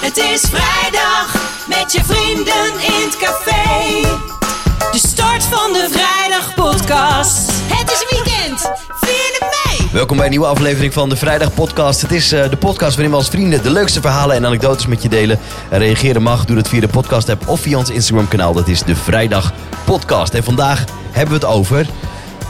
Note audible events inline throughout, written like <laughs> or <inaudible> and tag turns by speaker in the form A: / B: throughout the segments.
A: Het is vrijdag met je vrienden in het café. De start van de vrijdag podcast. Het is weekend. Vierde mei.
B: Welkom bij een nieuwe aflevering van de Vrijdag Podcast. Het is eh, de podcast waarin we als vrienden de leukste verhalen en anekdotes met je delen. En reageren mag, doe dat via de podcast app of via ons Instagram kanaal. Dat is de Vrijdag Podcast. En vandaag hebben we het over...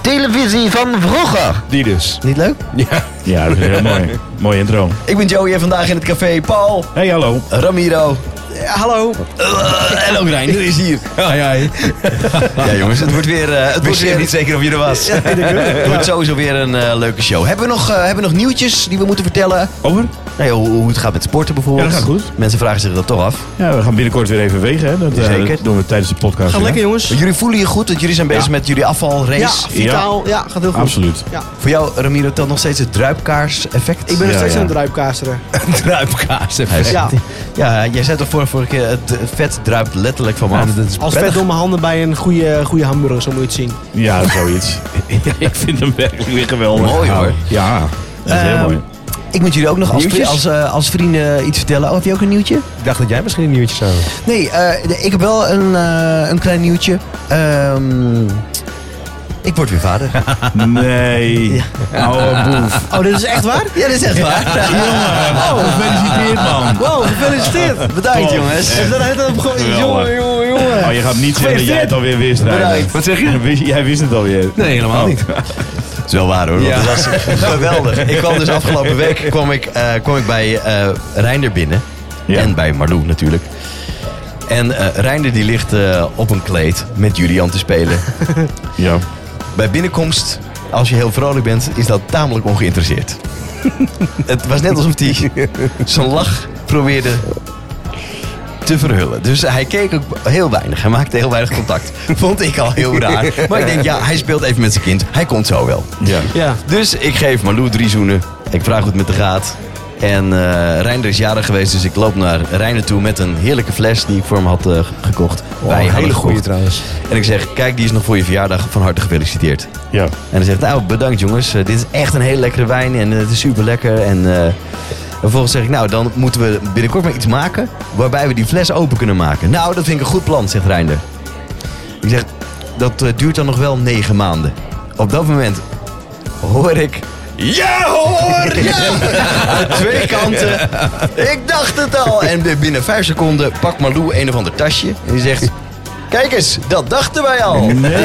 B: Televisie van vroeger.
C: Die dus.
B: Niet leuk?
C: Ja.
D: Ja, dat is heel mooi. Mooi intro.
B: Ik ben Joey en vandaag in het café Paul,
D: Hey, hallo.
B: Ramiro
C: Ja, Hallo.
B: eh, en ook Reiner is hier.
C: Ja, ja. Ik
B: <laughs> Ja jongens, het wordt weer... eh, het wordt
C: wist
B: weer
C: weer niet zeker of je er
B: <laughs>
C: was.
B: Het wordt sowieso weer een eh, leuke show. Hebben we, nog, eh, hebben we nog nieuwtjes die we moeten vertellen?
D: Over?
B: Nou ja, hoe, hoe het gaat met sporten bijvoorbeeld.
D: Ja, dat gaat goed.
B: Mensen vragen zich dat toch af.
D: Ja, we gaan binnenkort weer even wegen. Hè. Dat, eh,
B: Zeker.
D: dat doen we tijdens de podcast.
C: Gaat
D: weer,
C: lekker,
D: hè.
C: jongens.
B: Jullie voelen je goed, want jullie zijn bezig
D: Ja.
B: met jullie
C: Ja,
B: afvalrace.
C: vitaal. Ja, gaat heel goed.
D: Absoluut.
C: Ja.
B: Voor jou, Ramiro, telt nog steeds het druipkaars-effect?
C: Ik ben nog
D: Ja,
C: steeds
D: ja.
C: aan het druipkaasteren.
B: Hij
C: druipkaars
B: is-
C: Ja.
B: ja, jij zei toch vorige, vorige keer, het eh, vet druipt letterlijk van me af. Dat is
C: Als vet
B: prettig.
C: door mijn handen bij een goede, goede hamburger, zo moet je het zien.
D: Ja, zoiets. ik vind hem werkelijk weer geweldig.
B: Mooi, hoor.
D: Ja, dat is
B: Ehm,
D: heel mooi.
B: Ik moet jullie ook nog als, vri-
D: Nieuwtjes?
B: als, eh, als vrienden iets vertellen. Oh, heb je ook een nieuwtje?
E: Ik dacht dat jij misschien een nieuwtje zou hebben.
B: Nee, eh, de- ik heb wel een, eh, een klein nieuwtje. Ehm, ik word weer vader.
D: Nee. Oh, boef.
C: Oh, dit is echt waar?
B: ja, dat is echt waar.
D: Oh, gefeliciteerd, man.
C: Wow, gefelliciteerd.
B: Bedankt,
D: Top.
B: jongens.
C: Heb je dat net op
D: Geweldig.
C: Jongen, jongen, jongen.
D: Oh, je gaat niet zeggen dat jij het alweer wist, Rijn.
B: Bedankt.
D: Wat zeg je? <laughs> Wist- Jij wist het alweer.
E: Nee, helemaal
D: Oh.
E: niet.
B: Dat is wel waar hoor, want het was geweldig. Ik kwam dus afgelopen week kwam ik, eh, kwam ik bij eh Reinder binnen.
D: Ja.
B: En bij Marlou natuurlijk. En eh Reinder die ligt eh, op een kleed met Julian te spelen.
D: Ja.
B: bij binnenkomst, als je heel vrolijk bent, is dat tamelijk ongeïnteresseerd. Het was net alsof hij zijn lach probeerde te verhullen. Dus hij keek ook heel weinig. Hij maakte heel weinig contact. Vond ik al heel raar. Maar ik denk, ja, hij speelt even met zijn kind. Hij komt zo wel.
D: Ja.
C: Ja.
B: Dus ik geef Marlou drie zoenen. Ik vraag hoe het met de gaat. En eh Reinder is jarig geweest, dus ik loop naar Reinder toe met een heerlijke fles die ik voor hem had eh, gekocht. Wij
E: Oh, een
B: hadden
E: hele goede
B: gekocht.
E: trouwens.
B: En ik zeg, kijk, die is nog voor je verjaardag. Van harte gefeliciteerd.
D: Ja.
B: En hij zegt, nou bedankt jongens, Eh, dit is echt een hele lekkere wijn en eh, het is super lekker. En eh, vervolgens zeg ik, nou dan moeten we binnenkort maar iets maken waarbij we die fles open kunnen maken. Nou, dat vind ik een goed plan, zegt Reinder. Ik zeg, dat eh, duurt dan nog wel negen maanden. Op dat moment hoor ik... Ja hoor! Ja! <laughs> Aan twee kanten. Ik dacht het al. En binnen vijf seconden pakt Marlou een of ander tasje. En die zegt... Kijk eens, dat dachten wij al.
D: Nee.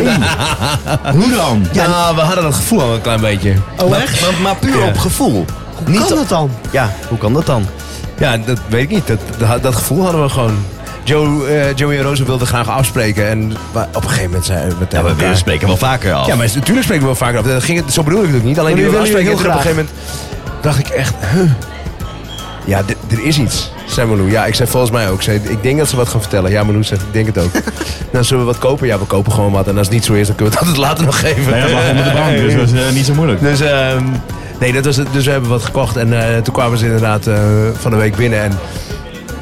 D: Hoe dan?
E: Ja, we hadden dat gevoel al een klein beetje.
C: Oh,
B: Maar-
C: echt?
B: Maar, maar puur op gevoel. Hoe
C: Kan dat dan?
B: Ja, hoe kan dat dan?
E: Ja, dat weet ik niet. Dat, dat, dat gevoel hadden we gewoon. Joe, eh, Joey en Rosa wilden graag afspreken. En maar op een gegeven moment zeiden we
B: Ja,
E: tegen
B: maar we
E: elkaar-
B: spreken wel vaker af.
E: Ja, maar natuurlijk spreken we wel vaker af. Dat ging, het- zo bedoel ik het ook niet. Alleen
C: Maar
E: die
C: nu
E: wilden
C: willen
E: afspreken.
C: jullie heel
E: en op een gegeven moment dacht ik echt... huh. Ja, dit- er is iets, zei Malou. Ja, ik zei volgens mij ook. Zei, ik denk dat ze wat gaan vertellen. Ja, Malou zegt, ik denk het
C: <laughs>
E: ook. nou, zullen we wat kopen? Ja, we kopen gewoon wat. En als het niet zo is, dan kunnen we het altijd later nog geven.
D: Nee, dat lag onder de bank, dus dat is eh, niet zo moeilijk.
E: Dus, ehm, nee, dat was het. dus we hebben wat gekocht en eh, toen kwamen ze inderdaad eh, van de week binnen. En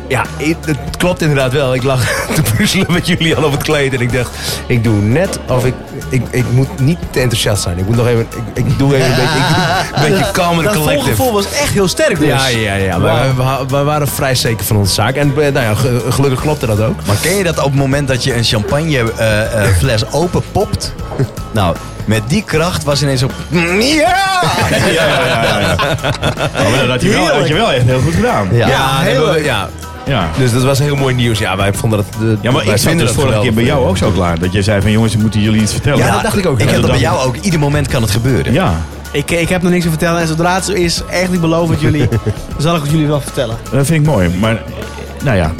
E: ja, ik- het klopt inderdaad wel. Ik lag <laughs> te puzzelen met jullie al op het kleed en ik dacht, ik doe net of ik, ik, ik moet niet te enthousiast zijn. Ik moet nog even, ik, ik doe even een beetje, ik
C: <laughs>
E: doe een beetje calm and
C: Dat
E: collective.
C: volgevoel was echt heel sterk dus.
E: Ja, ja, ja.
C: Wauw.
E: We, we, we waren vrij zeker van onze zaak. En eh, nou ja, ge- gelukkig klopte dat ook.
B: Maar ken je dat op het moment dat je een champagnefles fles open popt? Nou, met die kracht was ineens op... Ja!
D: Oh, maar dat had je, wel, dat had je wel echt heel goed gedaan.
B: Ja.
E: nee,
C: heel
E: we-
C: leuk.
E: ja.
D: Ja.
E: Dus dat was heel mooi nieuws. Ja, wij vonden dat... eh,
D: Ja, maar
E: wij
D: ik vind
E: vonden
D: het
E: dat
D: vorige keer bij
E: geweldig.
D: jou ook zo klaar. Dat jij zei van jongens, we moeten jullie iets vertellen.
E: Ja, dat dacht ik ook.
B: Ik
E: Ja,
B: heb dat
D: dat
B: bij
D: dacht
B: jou ook. Ieder moment kan het gebeuren.
D: Ja.
C: Ik, ik heb nog niks te vertellen en zodra het zo is, echt, ik beloof het <laughs> jullie, zal ik het jullie wel vertellen.
D: dat vind ik mooi. Maar nou ja,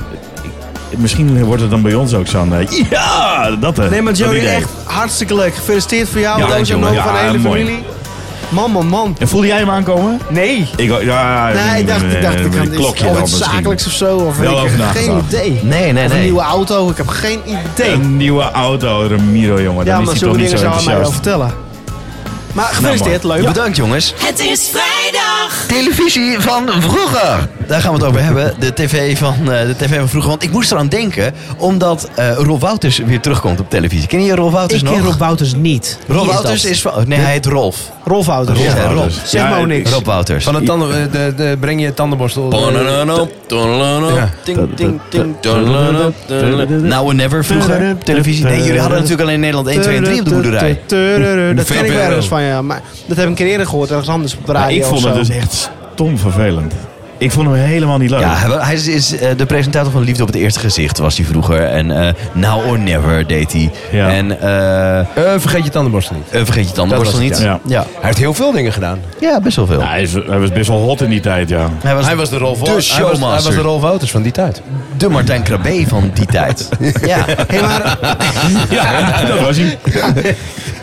D: ik- misschien wordt het dan bij ons ook zo'n... eh, Ja, dat hè.
C: Nee, maar
D: Dat
C: Joey,
D: idee.
C: echt hartstikke leuk. Gefeliciteerd voor jou,
D: Ja,
C: ja,
D: dank,
C: Dojo,
D: jongen.
C: van de
D: Ja,
C: hele
D: mooi.
C: familie. Man, man, man.
D: En voelde jij hem aankomen?
C: Nee.
D: Ik, ook- ja,
C: Nee, ik dacht, ik dacht, ik dus
D: een
C: kan dit-
D: klokje
C: of
D: dan
C: iets
D: misschien.
C: zakelijks of zo. Of
D: Wel
C: weet ik,
D: over
C: geen
D: nagedacht.
C: idee.
B: Nee, nee,
C: Of een
B: nee.
C: nieuwe auto, ik heb geen idee.
D: Een nieuwe auto, Ramiro, jongen.
C: ja,
D: dan
C: maar
D: is hij toch
C: zulke
D: niet
C: dingen
D: zo
C: zou hij mij wel
D: enthousiast.
C: vertellen. Nou, Maar gefeliciteerd, leuk.
B: Bedankt jongens.
A: Het is vrijdag.
B: Televisie van vroeger. daar gaan we het over hebben. De tv van, eh, de TV van vroeger. Want ik moest eraan denken, omdat eh Rob Wouters weer terugkomt op televisie. Ken je Rob Wouters
C: Ik
B: nog?
C: ken Rob Wouters niet.
B: Rob
C: Wie
B: Wouters
C: dat?
B: is van... Nee, hij heet Rolf.
C: Rolf Wouters.
B: Rolf
C: Ja,
B: Wouters.
C: Rolf. Zeg maar ook niks.
B: Rob Wouters.
E: Van het tanden, eh, de, de, breng je tandenborstel. Ja.
B: Ting, ting, ting. Now or Nou, never vroeger. op Televisie. Nee, jullie hadden natuurlijk alleen in Nederland 1, 2 en 3 op de boerderij.
C: Turururu, Dat ken ik
E: VPRO.
C: wel eens van ja, maar dat heb ik een keer eerder gehoord ergens anders op de radio.
D: ik vond
C: of zo.
D: het dus echt stom vervelend. Ik vond hem helemaal niet leuk.
B: Ja, hij wa- hij is, is eh, de presentator van Liefde op het Eerste Gezicht was hij vroeger. En eh, Now or Never deed hij.
D: Ja.
B: En eh, eh,
E: Eh, vergeet je tandenborstel niet.
B: vergeet je tandenborstel
E: Dat
B: niet.
E: was
D: het,
B: ja.
E: Hij heeft heel veel dingen gedaan.
B: Ja, best wel veel.
D: Ja, hij, is- hij was best wel hot in die tijd, ja.
B: Hij was,
E: Hij was de Rolf
B: de
E: Wouters. Hij was- Hij was,
B: showmaster.
E: de Rolf Wouters van die tijd.
B: de Martijn Krabbe van die
E: <laughs>
B: tijd. ja.
C: Hey, maar,
D: Ja, <laughs> dat was hij.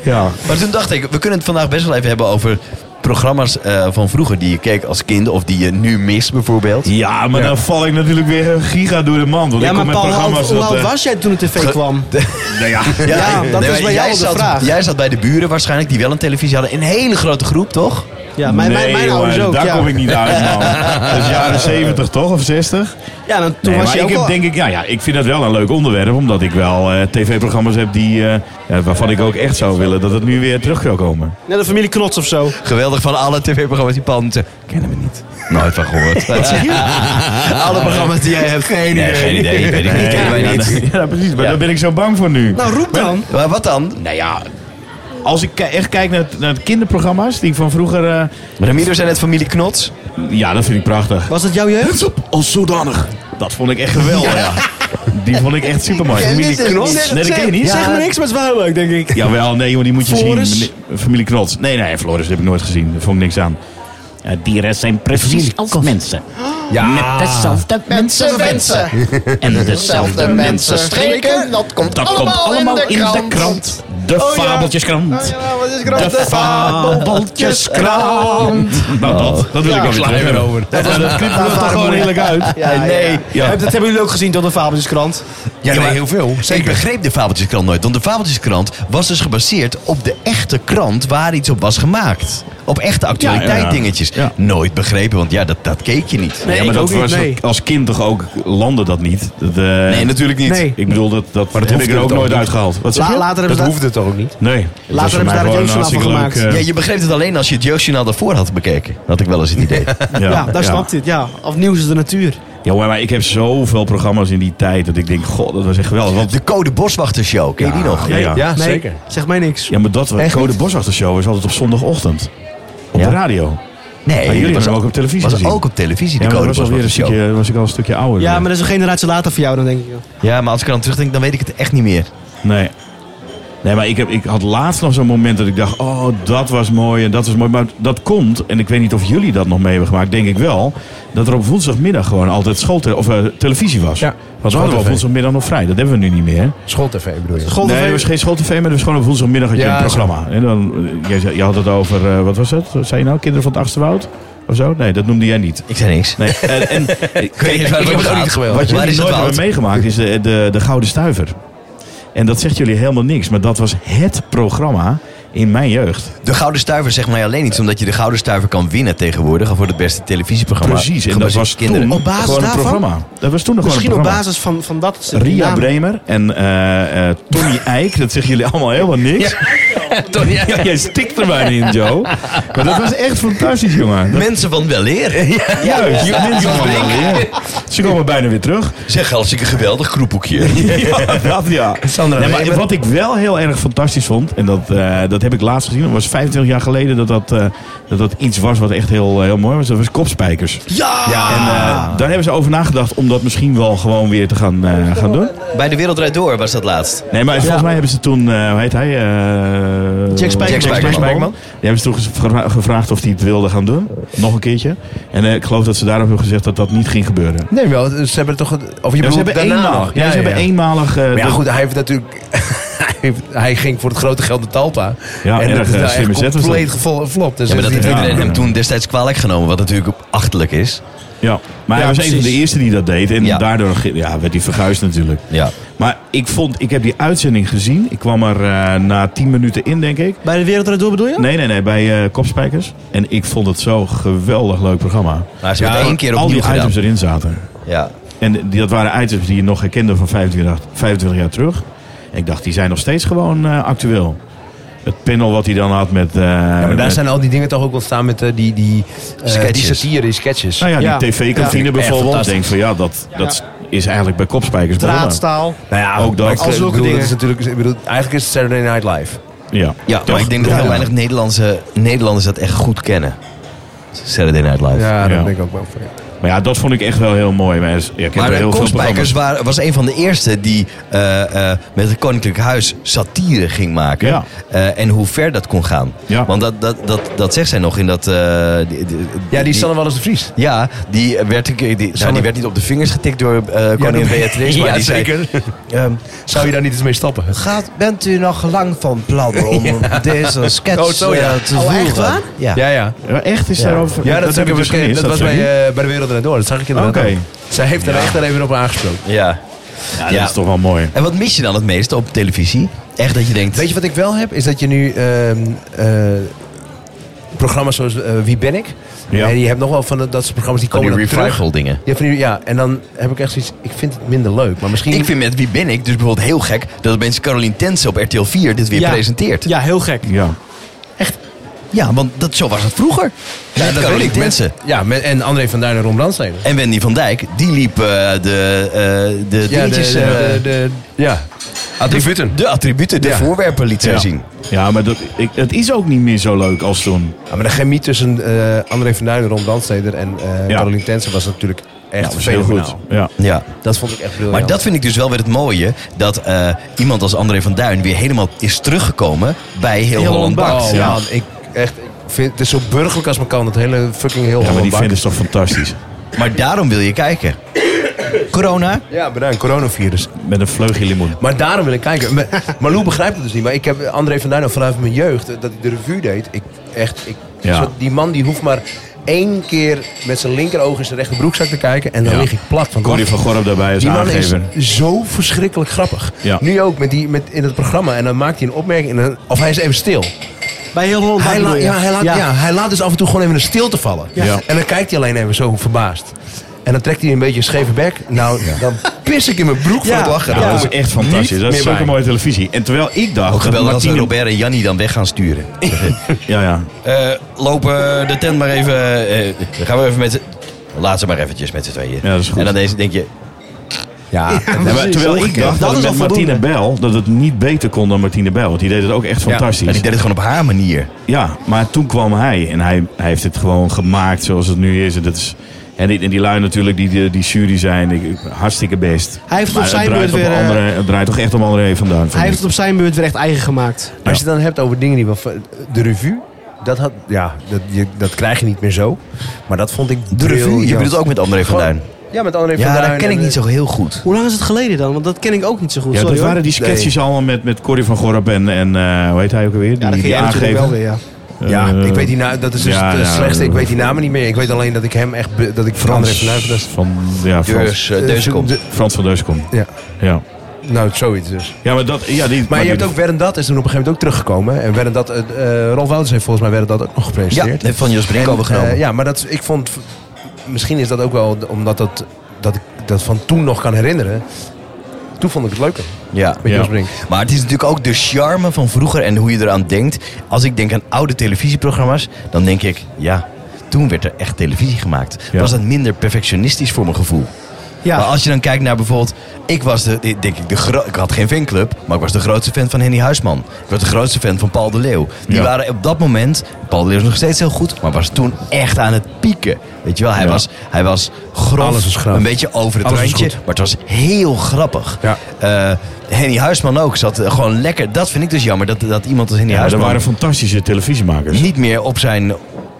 D: Ja.
B: Maar toen dacht ik, we kunnen het vandaag best wel even hebben over programma's eh, van vroeger die je keek als kind of die je nu mist bijvoorbeeld.
D: Ja, maar dan val ik natuurlijk weer giga door de mand. Want
C: ja,
D: ik kom
C: maar
D: met
C: Paul, hoe
D: programma's
C: oud- hoe
D: dat...
C: oud
D: eh,
C: was jij toen de tv kwam?
D: nou ja,
C: Ja, dat is
B: maar
C: bij jou
B: jij
C: de
B: zat,
C: vraag.
B: Jij zat bij de buren waarschijnlijk, die wel een televisie hadden. In Een hele grote groep, toch?
C: Ja, mijn, mijn, mijn
D: jongen,
C: ouders ook.
D: daar
C: ja.
D: kom ik niet uit,
C: <laughs>
D: man. Dat is jaren 70 toch, of 60?
C: Ja, dan, toen
D: Nee,
C: was
D: maar
C: je
D: ik
C: ook
D: heb
C: al-
D: denk ik, ja, ja, ik vind dat wel een leuk onderwerp, omdat ik wel eh, tv-programma's heb die, eh, ja, waarvan ik ook echt zou willen dat het nu weer terug zou komen.
C: net de familie Knots of zo.
B: Geweldig van alle tv-programma's die Paul noemt. Kennen we niet. Nooit van <laughs> gehoord. alle programma's die jij hebt. Geen idee. Nee, geen idee. Weet ik niet. Kennen wij
D: Eh, ja,
B: niet.
D: dat- <laughs> ja, precies, maar
B: Ja.
D: daar ben ik zo bang voor nu.
C: Nou, roep dan.
B: Maar wat dan?
D: Nou ja, als ik ki- echt kijk naar, naar de kinderprogramma's die ik van vroeger... eh,
B: Ramiro zijn net familie Knots.
D: ja, dat vind ik prachtig.
C: Was dat jouw jeugd?
D: Als zodanig. Dat vond ik echt geweldig, ja. Die vond ik echt supermooi. Familie Knots. Nee, dat ken je niet.
C: Zeg maar niks, maar het is wel heel leuk, denk ik.
D: Jawel, nee, jongen, die moet je
C: Floris?
D: zien. Meneer- Familie Knots. Nee, nee, Floris heb ik nooit gezien. Daar vond ik niks aan. Eh,
F: dieren zijn precies als mensen.
E: Ja.
F: Met dezelfde mensen wensen. En dezelfde mensen streken. Dat komt allemaal, in de krant. Oh
D: De
F: Fabeltjeskrant.
C: Ja, is
F: De fabeltjeskrant.
D: Nou, dat, dat wil ik wel weer terug hebben.
E: over.
D: Dat, dat, dat knipt er toch gewoon heerlijk uit.
C: nee.
D: Ja.
C: Dat hebben jullie ook gezien tot de Fabeltjeskrant.
B: Ja,
E: nee,
B: maar
E: heel veel.
B: Ik begreep de Fabeltjeskrant nooit. Want de Fabeltjeskrant was dus gebaseerd op de echte krant waar iets op was gemaakt. Op echte
D: Ja, ja.
B: actualiteit dingetjes.
D: Ja.
B: Nooit begrepen, want ja, dat, dat keek je niet.
D: ja, maar
C: ik
D: dat
C: ook niet,
D: was
C: nee.
D: als kind toch ook landde dat niet. Dat, eh,
B: Nee, natuurlijk niet.
C: Nee.
D: Ik bedoel, dat, dat, heb ik
E: hoeft
D: er ook
E: het ook
D: nooit
E: niet.
D: uitgehaald. Wat zeg
C: La-
D: je?
C: later hebben
E: Dat
C: ze daar-
E: hoefde het toch ook niet?
D: Nee. het was
C: hebben ze
D: voor mij
C: daar een
D: gewoon
C: joke van
D: hartstikke
C: gemaakt.
D: leuk,
B: Ja,
D: eh,
B: je begreep het alleen als je het jeugdjournaal daarvoor had bekeken. Had ik wel eens het
D: <laughs>
B: idee.
D: eh, ja,
C: Ja, daar snapt hij het. Ja. Of nieuws is de natuur.
D: Ja, hoor, maar ik heb zoveel programma's in die tijd dat ik denk, god, dat was echt geweldig. Want,
B: De Code Boswachtershow, ken je die nog?
D: ja, Ah, ja.
E: Ja,
C: Nee,
E: zeker.
C: zeg mij niks.
D: Ja, maar dat was Code Boswachtershow was altijd op zondagochtend. Op
B: Ja.
D: de radio.
B: Nee,
D: Maar jullie
B: dat
D: hebben hem ook op televisie
B: was
D: gezien.
B: ook op televisie, de
D: Ja, maar
B: Code
D: dat was, alweer een
B: Boswachtershow.
D: stukje, was ik al een stukje ouder.
C: Ja, maar dat is een generatie later voor jou dan, denk ik. joh.
B: Ja, maar als ik er aan terugdenk, dan weet ik het echt niet meer.
D: Nee. Nee, maar ik, heb, ik had laatst nog zo'n moment dat ik dacht, oh, dat was mooi en dat was mooi. Maar dat komt, en ik weet niet of jullie dat nog mee hebben gemaakt, denk ik wel, dat er op woensdagmiddag gewoon altijd schooltele of, eh, televisie was.
E: Ja.
D: Want we hadden
E: School
D: op
E: TV.
D: woensdagmiddag nog vrij, dat hebben we nu niet meer.
E: School-tv bedoel je?
C: Golden
D: nee, er
C: Vee-
D: was geen schooltv, maar er was gewoon op woensdagmiddag had je
E: Ja,
D: een programma. En dan, eh, jij zei- je had het over, eh, wat was het? Wat zei je nou, Kinderen van het Achterwoud? Of zo? Nee, dat noemde jij niet.
B: Ik zei niks.
E: <laughs>
D: Nee, en, en, ik
B: weet niet waar het over gaat.
D: Wat
B: Waar
D: jullie
B: is het
D: nooit hebben
B: woud?
D: meegemaakt is de, de, de Gouden Stuiver. En dat zegt jullie helemaal niks. Maar dat was het programma in mijn jeugd.
B: De Gouden Stuiver zegt mij alleen iets, omdat je de Gouden Stuiver kan winnen tegenwoordig voor het beste televisieprogramma.
D: Precies. En dat
B: Gebaseerd
D: was
B: op kinderen.
D: toen
C: Op basis
D: gewoon een
C: daarvan?
D: programma. Dat was toen nog gewoon een
C: Misschien op
D: programma.
C: basis van, van dat.
D: Ria
C: naam.
D: Bremer en eh, eh, Tony Eijk. Dat zeggen jullie allemaal helemaal niks. <laughs> Ja, jij stikt er bijna in, Joe. Maar dat was echt fantastisch, jongen. Dat-
B: Mensen van wel leer. <laughs>
D: Juist, je mensen allemaal weer. Ze komen bijna weer terug.
B: Zeg, hartstikke geweldig groepboekje.
D: Ja, dat ja.
E: Sandra
D: Nee, maar
E: Weber.
D: wat ik wel heel erg fantastisch vond, en dat, eh, dat heb ik laatst gezien, dat was 25 jaar geleden dat dat, eh, dat, dat iets was wat echt heel, eh, heel mooi was. Dat was kopspijkers.
B: Ja!
D: En eh, daar hebben ze over nagedacht om dat misschien wel gewoon weer te gaan, eh, gaan doen.
B: Bij de Wereld Rijd Door was dat laatst.
D: Nee, maar volgens mij hebben ze toen, eh, hoe heet hij? eh,
C: Jack Spijkerman.
B: Jack Spijkerman.
D: Die hebben ze toen ges- gevra- gevraagd of hij het wilde gaan doen. Nog een keertje. En eh, ik geloof dat ze daarop hebben gezegd dat dat niet ging gebeuren.
E: Nee, wel. Ze hebben toch... een- Of je
D: Ja,
E: bedoelt
D: ze hebben
E: daarna
D: eenmalig.
E: nog.
D: Ja, ze hebben eenmalig. eh,
E: Maar ja,
D: dat-
E: goed, hij heeft natuurlijk... <laughs> hij heeft- hij ging voor het grote geld naar Talpa.
D: Ja, erg,
E: dat is
D: eh,
E: daar
D: slimme
E: echt
D: zet was dat.
E: compleet geflopt. Dus
B: Ja, maar dat
E: is
B: heeft
E: niet-
B: iedereen
D: ja.
B: hem toen destijds kwalijk genomen, wat natuurlijk achterlijk is.
D: Ja, maar hij was een van de eerste die dat deed. En
B: Ja.
D: daardoor ge- ja, werd hij verguisd natuurlijk.
B: Ja.
D: Maar ik, vond, ik heb die uitzending gezien. Ik kwam er eh, na 10 minuten in, denk ik.
C: Bij de Wereldraad Door bedoel je?
D: Nee, nee, nee, bij eh, Kopspijkers. En ik vond het zo'n geweldig leuk programma.
B: Maar Nou, ze hebben het één keer
D: Al
B: opnieuw
D: die
B: gedaan.
D: items erin zaten.
B: Ja.
D: En die, dat waren items die je nog herkende van 25, jaar- 25 jaar terug. En ik dacht, die zijn nog steeds gewoon eh, actueel. Het panel wat hij dan had met... eh,
E: maar daar
D: met-
E: zijn al die dingen toch ook ontstaan met eh, die, die, eh, die
B: Sketches.
E: satire, die sketches.
D: nou ja, die
C: Ja.
D: tv-kantine
E: Ja.
D: bijvoorbeeld. Ik
E: Echt
D: denk van ja, dat, dat is eigenlijk bij Kopspijkers begonnen.
C: Draadstaal.
E: Nou ja,
D: Ook dat.
E: maar ik-
D: Al
E: ik
C: zulke
E: bedoel, dat
C: dingen.
E: is natuurlijk, ik bedoel, eigenlijk is het Saturday Night Live.
D: Ja,
B: Ja,
D: Toch?
B: maar ik denk dat
D: Ja.
B: heel weinig Nederlandse, Nederlanders dat echt goed kennen. Saturday Night Live.
E: Ja, dat
D: Ja.
E: denk ik ook wel. Voor, ja.
D: Maar ja, dat vond ik echt wel heel mooi. Maar ja, ik heb
B: Maar
D: er
B: de
D: heel veel programma's.
B: Konspijkers wa- was een van de eerste die eh, eh, met het Koninklijk Huis satire ging maken.
D: Ja.
B: Eh, en hoe ver dat kon gaan.
D: Ja.
B: Want dat, dat, dat, dat zegt zij nog in dat... eh, die- die-
E: ja, die Sanne Wallis de Vries.
B: Ja, die werd, een keer- die, nou, die werd niet op de vingers getikt door eh koningin
E: dat-
B: <laughs>
E: <laughs>
B: Beatrice. Maar
E: Ja,
B: die zei, ehm,
E: Zou je daar niet eens mee stappen?
B: gaat, bent u nog lang van plan om deze sketch
E: Oh, zo, ja.
B: eh, te voeren?
C: echt waar?
B: Ja.
E: Ja, ja.
D: Ja, echt is daarover...
E: Ja, dat, heb ik
D: dus
E: bekeken.
D: gemist,
E: Dat, was
D: zei
E: bij,
D: hij.
E: eh, bij de Wereld Draait Door. Dat zag ik inderdaad
D: Oké.
E: ook. Zij heeft er echt even op aangesproken.
B: Ja.
D: Ja,
B: Ja.
D: dat is toch wel mooi.
B: En wat mis je dan het meest op televisie? Echt dat je denkt...
E: Weet je wat ik wel heb? Is dat je nu ehm, eh, programma's zoals eh, Wie ben ik?
D: Ja.
E: En je hebt nog wel van dat- dat soort programma's die
B: van
E: komen
B: die
E: dan terug.
B: revival dingen.
E: Ja, van die- ja, en dan heb ik echt zoiets, ik vind het minder leuk. Maar misschien...
B: Ik vind met Wie Ben Ik dus bijvoorbeeld heel gek... dat mensen Caroline Tense op RTL 4 dit weer
C: Ja.
B: presenteert.
C: Ja, heel gek.
D: Ja.
B: Ja, want dat, zo was het vroeger. Ja,
E: dat
B: Caroline
E: weet ik.
B: Tense.
E: Ja, met, en André van Duin en Ron Brandstede.
B: En Wendy van Dijk, die liep eh, de, eh de
E: Ja, de,
B: dingetjes...
E: de-
B: eh,
E: de- de- ja. Attributen.
B: De attributen, de
E: Ja.
B: voorwerpen liet zij
D: ja.
B: zien.
D: Ja, maar dat, ik, het is ook niet meer zo leuk als toen.
E: Ja, maar de chemie tussen eh, André van Duin en Ron Brandsteder en eh
D: Ja.
E: Caroline Tense was natuurlijk echt
D: Dat is heel
E: fenomenaal.
D: goed. Ja.
B: Ja.
E: Dat vond ik echt briljant.
B: Maar dat vind ik dus wel weer het mooie. Dat eh, iemand als André van Duin weer helemaal is teruggekomen bij Heel, Holland Bakt.
E: Oh,
D: ja.
E: man, ik echt... ik Vind, het is zo burgerlijk als maar kan, dat hele fucking heel
D: Ja, maar die
E: Holland
D: vinden ze toch fantastisch.
B: Maar daarom wil je kijken. Corona?
E: Ja, bedankt. Coronavirus.
D: Met een vleugje limoen.
E: Maar daarom wil ik
D: <laughs>
E: kijken. Maar, maar Lou begrijpt het dus niet. Maar ik heb André van Duin al vanuit mijn jeugd, eh, dat hij de revue deed. Ik, echt, ik,
D: Ja.
E: zo- die man die hoeft maar één keer met zijn linkeroog in zijn rechterbroekzak te kijken. En dan
D: Ja.
E: lig ik plat van
D: Corrie van Gorp daarbij als
E: Die man
D: aangever.
E: is zo verschrikkelijk grappig.
D: Ja.
E: Nu ook met die, met, in het programma. En dan maakt hij een opmerking. En dan, of hij is even stil.
C: Bij heel Holland.
E: Hij,
C: Bang
E: laat-
C: bedoel je?
E: ja, hij, laat, ja. hij laat dus af en toe gewoon even een stilte vallen.
D: Ja.
E: En dan kijkt hij alleen even zo verbaasd. En dan trekt hij een beetje een scheve bek. Nou, dan pis ik in mijn broek van
C: Ja.
E: het lachen.
D: Ja,
E: Dan
D: dat
E: kom
D: is
E: ik
D: echt fantastisch.
E: niet
D: Dat is
E: meer
D: zulke
E: bij.
D: mooie televisie. En terwijl ik dacht...
B: Ook geweldig
D: dat
B: als we
D: Martine-
B: Robert en Jannie dan weg gaan sturen.
D: Ja, ja.
B: Eh, lopen de tent maar even... eh, dan gaan we even met z'n... Laat ze maar eventjes met z'n tweeën.
D: Ja, dat is goed.
B: En dan deze denk je...
E: Ja,
D: Ja, maar terwijl ik dacht dat,
C: Dat
D: het
C: is
D: met
C: al
D: Martine Bel... dat het niet beter kon dan Martine Bel. Want die deed het ook echt
B: Maar
D: fantastisch.
B: die deed het gewoon op haar manier.
D: Ja, maar toen kwam hij en hij, hij heeft het gewoon gemaakt zoals het nu is. En, dat is, en, die, en die lui natuurlijk, die, die, die jury zijn, ik- ik- hartstikke best.
C: Hij heeft het
D: maar
C: op zijn
D: draait,
C: beurt
D: op
C: weer, eh,
D: andere, het draait toch echt om André van Duin. vind
C: Hij
D: ik.
C: heeft het op zijn beurt weer echt eigen gemaakt.
E: Als je het dan hebt over dingen die wel... De revue, dat, had, ja, dat, je, dat krijg je niet meer zo. Maar dat vond ik
B: De revue.
E: briljant.
B: Je bedoelt ook met André van
E: Gewoon-
B: Duin.
E: Ja, met André van
B: Ja,
E: Duin.
B: dat ken
E: en, eh,
B: ik niet zo heel goed.
C: Hoe lang is het geleden dan? Want dat ken ik ook niet zo goed.
D: ja,
C: Sorry,
D: dat
C: hoor.
D: waren die sketches allemaal met, met Corrie van Gorp en, en eh, hoe heet hij ook alweer? Die,
C: Ja, dat ken
D: die
C: jij natuurlijk wel
D: aangever.
C: weer, ja.
E: eh, Ja,
D: Eh,
E: ik weet die naam, dat is dus
D: ja,
E: het eh,
D: ja,
E: slechtste. Ik
D: eh,
E: weet die namen niet meer. Ik weet alleen dat ik hem echt... be- dat ik van André van Duin... dat is-
D: Van, ja, Frans,
B: Dus, eh, deze komt.
E: de-
D: Frans van Deuskom.
E: Ja,
D: Ja.
E: nou, zoiets dus.
D: ja, maar dat... Ja, die,
E: Maar, je
D: die-
E: hebt ook Werren Dat is toen op een gegeven moment ook teruggekomen. En Werren Dat, eh eh, Rolf Wouters heeft volgens mij Werren Dat ook nog
B: Ja,
E: gepresenteerd.
B: heeft van Jos Brink
E: En,
B: overgenomen.
E: eh, ja, maar dat, ik vond... Misschien is dat ook wel d- omdat dat, dat ik dat van toen nog kan herinneren. Toen vond ik het leuker
B: ja.
E: met
D: Ja.
E: Jos Brink.
B: Maar het is natuurlijk ook de charme van vroeger en hoe je eraan denkt. Als ik denk aan oude televisieprogramma's, dan denk ik, ja, toen werd er echt televisie gemaakt.
D: Ja.
B: Was dat minder perfectionistisch voor mijn gevoel?
C: Ja.
B: Maar als je dan kijkt naar bijvoorbeeld, ik was de, ik denk ik, de gro- ik had geen fanclub, maar ik was de grootste fan van Henny Huisman. Ik was de grootste fan van Paul de Leeuw. Die
D: Ja.
B: waren op dat moment, Paul de Leeuw is nog steeds heel goed, maar was toen echt aan het pieken. Weet je wel, hij,
D: Ja.
B: was, hij was grof,
E: Alles was grof.
B: een beetje over het
E: Alles was
B: randje,
E: goed.
B: maar het was heel grappig.
E: Ja.
B: Eh, Henny Huisman ook zat eh, gewoon lekker. Dat vind ik dus jammer dat, dat iemand als Henny
D: Ja, er
B: Huisman
D: waren fantastische televisiemakers.
B: niet meer op zijn,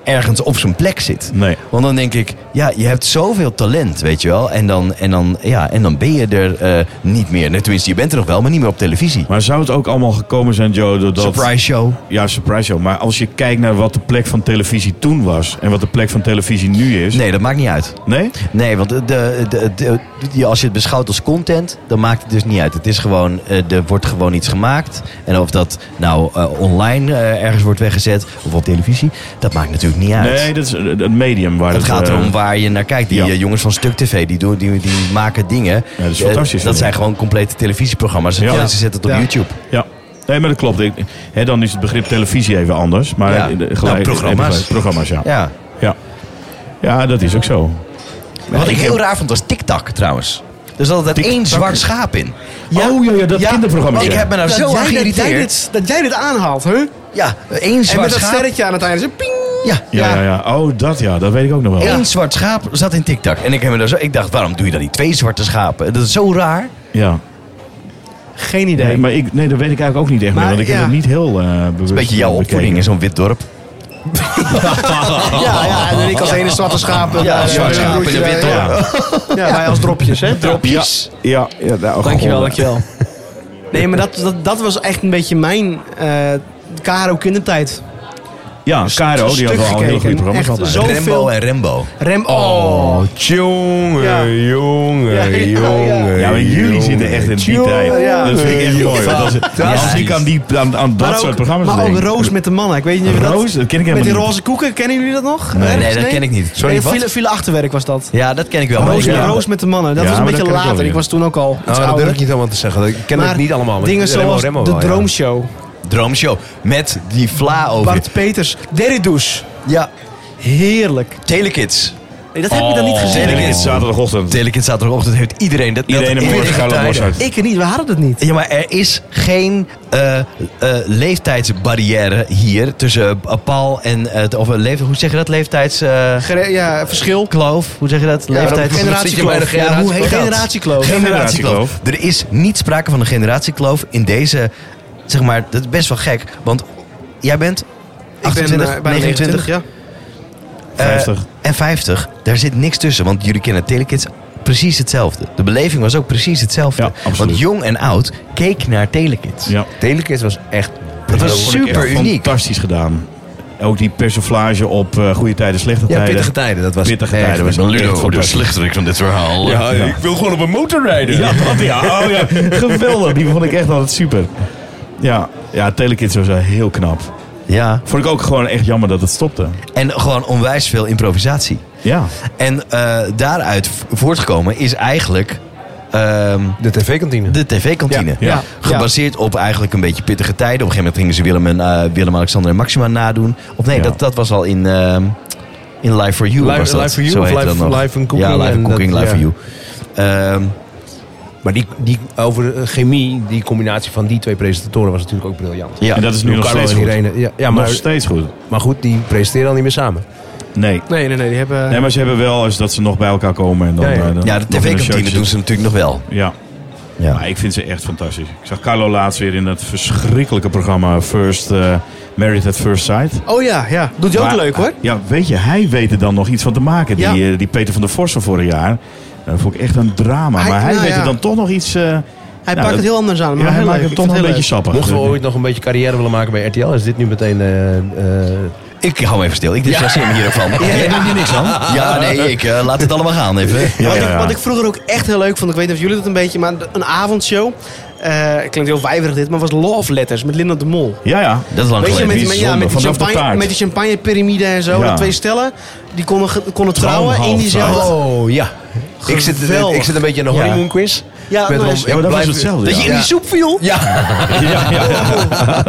B: ergens op zijn plek zit.
D: Nee.
B: Want dan denk ik, ja, je hebt zoveel talent, weet je wel. En dan, en dan, ja, en dan ben je er eh, niet meer. Nee, tenminste, je bent er nog wel, maar niet meer op televisie.
D: Maar zou het ook allemaal gekomen zijn, Joe, doordat...
B: Surprise show.
D: Ja, surprise show. Maar als je kijkt naar wat de plek van televisie toen was... en wat de plek van televisie nu is...
B: Nee, dat maakt niet uit.
D: Nee?
B: Nee, want de, de, de, de- je- als je het beschouwt als content, dan maakt het dus niet uit. Het is gewoon, eh, er wordt gewoon iets gemaakt. En of dat nou eh, online eh, ergens wordt weggezet of op televisie, dat maakt natuurlijk niet uit.
D: Nee, dat is eh, het medium waar
B: Het
D: het...
B: gaat
D: eh,
B: erom waar je naar kijkt. Die
D: ja.
B: eh, jongens van Stuk TV, die, doen, die, die maken dingen.
D: Ja, dat is
B: Eh,
D: fantastisch, vind
B: Dat
D: ik.
B: zijn gewoon complete televisieprogramma's. En
D: Ja.
B: mensen zetten het op
C: Ja.
B: YouTube.
D: Ja. Nee, maar dat klopt. Ik, hè, dan is het begrip televisie even anders. Maar
B: Ja.
D: eh, de-
B: Nou, programma's.
D: eh, programma's, ja.
B: Ja.
D: ja. Ja, dat is ook zo.
B: Wat ik
D: ik
B: heel
D: heb-
B: raar vond was TikTok trouwens. Er zat altijd één zwart schaap in.
D: oh ja, ja dat kinderprogramma.
B: Ik
D: ja.
B: heb me nou zo aan
C: jij, dat, jij
B: geïrriteerd.
C: dit, dat jij dit aanhaalt, hè?
B: Ja, één
C: En
B: zwart
C: met dat
B: schaap.
C: sterretje aan het einde. Zo ping!
B: Ja,
D: Ja, ja, ja. Oh, dat ja. Dat weet ik ook nog wel.
B: Eén zwart schaap zat in TikTok. En ik, heb me daar zo, ik dacht, waarom doe je dan niet twee zwarte schapen? Dat is zo raar.
D: Ja.
C: Geen idee.
D: Nee, maar ik, nee, dat weet ik eigenlijk ook niet echt meer.
C: Maar,
D: Want ik heb
C: ja.
D: het niet heel eh bewust
B: Een beetje jouw
D: bekeken.
B: opvoeding in zo'n wit dorp.
C: Ja, ja,
D: Oh,
C: en dan ik als ene zwarte schaap. en,
B: Ja,
C: eh,
B: zwarte
C: een
B: schaap
C: broertje,
B: en een witte
C: eh,
D: Ja,
C: <laughs> Ja, wij als dropjes, hè?
B: Dropjes.
D: ja. ja nou,
C: Dankjewel,
D: gewoon.
C: dankjewel. Nee, maar dat, dat, dat was echt een beetje mijn eh karo kindertijd.
D: Ja, Caro, die had
C: Stuk
D: wel een heel goed
C: gekeken.
D: programma
C: Echt
D: gehad.
C: zo-
D: hè.
C: Zoveel-
B: Rembo en Rembo.
C: Rem, oh.
E: Tjonge,
C: Ja.
E: jonge,
C: Ja, ja, ja.
E: jonge.
D: Ja, maar jullie
E: jonge.
D: zitten echt in die
E: Tjonge,
D: tijd.
C: ja.
D: Dat vind ik echt mooi. want Als, als ik aan, die, aan, aan dat
C: Maar
D: soort
C: ook-
D: programma's
C: Maar ook
D: denk.
C: Roos met de mannen. Ik weet niet of je dat...
D: Roos, dat ken ik helemaal
C: Met die
D: niet.
C: roze koeken, kennen jullie dat nog?
B: Nee,
C: Ergens?
B: nee, dat ken ik niet.
C: Nee,
B: Sorry,
C: file,
B: wat?
C: file achterwerk was dat.
B: Ja, dat ken ik wel.
E: Oh,
B: maar
C: Roos,
B: ik- ja.
C: Roos met de mannen. Dat
D: oh, Ja,
C: was een
D: maar dat ken ik
C: beetje
D: wel
C: later.
D: weer. Oh,
C: Ik was toen ook al iets
E: Nou, dat
C: ouder.
E: durf ik niet allemaal te zeggen. Ik ken
C: Maar
E: het niet allemaal. maar
C: dingen
E: Remo,
C: zoals
E: Remo
C: de
E: wel, ja.
C: Droomshow.
B: Droomshow. Met die vla over.
C: Bart Peters. Derry Douche.
B: Ja.
C: Heerlijk.
B: Telekids.
C: Nee, dat heb ik dan niet
E: Oh.
C: gezien.
D: Zeker
B: Telekids.
D: is zaterdagochtend.
B: Telekids zaterdagochtend heeft iedereen. Dat,
D: Iedereen
B: dat
D: een
B: iedereen
D: Morgengaarde
B: tijden.
D: Mozart.
C: Ik niet, we hadden het niet.
B: Ja, maar e- er is geen eh, eh, leeftijdsbarrière hier tussen eh, Paul en... eh, het- of een leeftijd, hoe zeg je dat? Leeftijds... eh,
C: Gere- Ja, verschil.
B: Kloof, hoe zeg je dat? Leeftijd.
C: Generatiekloof. Ja, hoe heet dat? Generatiekloof.
B: Generatiekloof. Er is niet sprake van een generatiekloof in deze. Zeg maar, dat is best wel gek. Want jij bent 28,
C: eh,
B: 29
C: ja.
B: eh,
D: 50.
B: en 50. Daar zit niks tussen. Want jullie kennen Telekids precies hetzelfde. De beleving was ook precies hetzelfde.
D: Ja, absoluut.
B: want jong en oud keek naar Telekids.
D: Ja.
E: Telekids was echt...
B: Dat was super uniek.
D: Fantastisch gedaan. Ook die persiflage op eh, goede tijden, slechte
E: Ja,
D: tijden.
E: pittige tijden. Dat was
D: Pittige
E: echt-
D: tijden was echt fantastisch.
B: slechterik van dit verhaal.
D: Ja, ik wil gewoon op een motor rijden. Ja, dat, ja. Oh, ja. Geweldig, die vond ik echt altijd super. Ja, ja Telekids was eh, heel knap.
B: ja.
D: Vond ik ook gewoon echt jammer dat het stopte.
B: En gewoon onwijs veel improvisatie.
D: Ja,
B: En eh, daaruit v- voortgekomen is eigenlijk ehm,
E: De tv-kantine.
B: de tv-kantine.
D: Ja, ja.
B: Gebaseerd op eigenlijk een beetje pittige tijden. Op een gegeven moment gingen ze Willem, en, eh, Willem Alexander en Maxima nadoen. Of nee,
D: Ja.
B: dat, dat was al in, ehm, in Live for You.
E: Live-
B: was dat.
E: Live for You
B: Zo
E: of
B: heette
E: Live-
B: dat nog.
E: Live and Cooking
B: Ja, Live
E: en
B: and
E: dat-
B: Cooking, Live
E: ja.
B: for You. Ehm,
E: Maar die, die over eh, chemie, die combinatie van die twee presentatoren was natuurlijk ook briljant.
B: ja.
D: en dat is nu nog
E: Carlo
D: steeds
E: en
D: goed.
E: Irene, ja, ja, maar,
D: Nog steeds goed.
E: maar goed, die presteren al niet meer samen.
D: Nee.
C: Nee, nee, nee, die hebben...
D: nee, maar ze hebben wel eens dat ze nog bij elkaar komen. En dan,
E: Ja, ja.
D: eh,
B: ja,
D: dan
B: de
D: nog in een
B: tv-kantine
D: showtje.
B: doen ze natuurlijk nog wel.
D: Ja.
B: Ja.
D: Maar ik vind ze echt fantastisch. Ik zag Carlo laatst weer in dat verschrikkelijke programma First eh, Married at First Sight.
C: Oh ja, ja. Doet je ook
D: Maar- eh,
C: leuk, hoor.
D: Ja, weet je, hij weet er dan nog iets van te maken. Die,
C: Ja.
D: eh, die Peter van der Vossen vorig jaar. Dat vond ik echt een drama.
C: Hij-
D: maar hij
C: nou
D: weet
C: ja.
D: er dan toch nog iets... eh,
C: Hij
D: nou,
C: pakt
D: dat-
C: het heel anders aan. Maar
D: ja, hij
C: heel
D: maakt
C: leuk.
D: hem toch
C: Ik
D: nog een
C: vind
D: beetje
C: het heel
D: sappig.
E: Mochten we ooit nog een beetje carrière willen maken bij RTL, is dit nu meteen... eh, eh,
B: Ik hou hem even stil. Ik distancieer me hiervan. Jij doet hier niks aan? Ja, nee, ik eh, laat het allemaal gaan even.
D: Ja,
C: Wat,
D: ja, ja.
C: Ik, wat ik vroeger ook echt heel leuk vond, ik weet niet of jullie dat een beetje, maar de- een avondshow. eh klinkt heel vijverig dit, maar was Love Letters met Linda de Mol.
D: Ja, ja.
B: Dat is lang
C: Weet je,
B: geleden.
C: met, met, ja,
D: Bijzonder.
C: met, die,
D: Vanaf de
C: champagne,
D: taart.
C: met die champagne-pyramide en zo.
D: Ja.
C: De twee stellen, die konden, ge- konden trouwen
D: half
C: in diezelfde...
D: taart.
E: Oh, ja. Ik zit,
C: Geweldig.
E: ik zit een beetje in een honeymoon quiz.
C: Ja,
E: Met
C: nou,
E: Ron-
C: is-
E: ik
D: Ja, maar dat was
E: blijf-
D: hetzelfde.
B: Dat
D: ja.
B: je in die soep viel?
E: Ja,
D: Ja, ja, ja.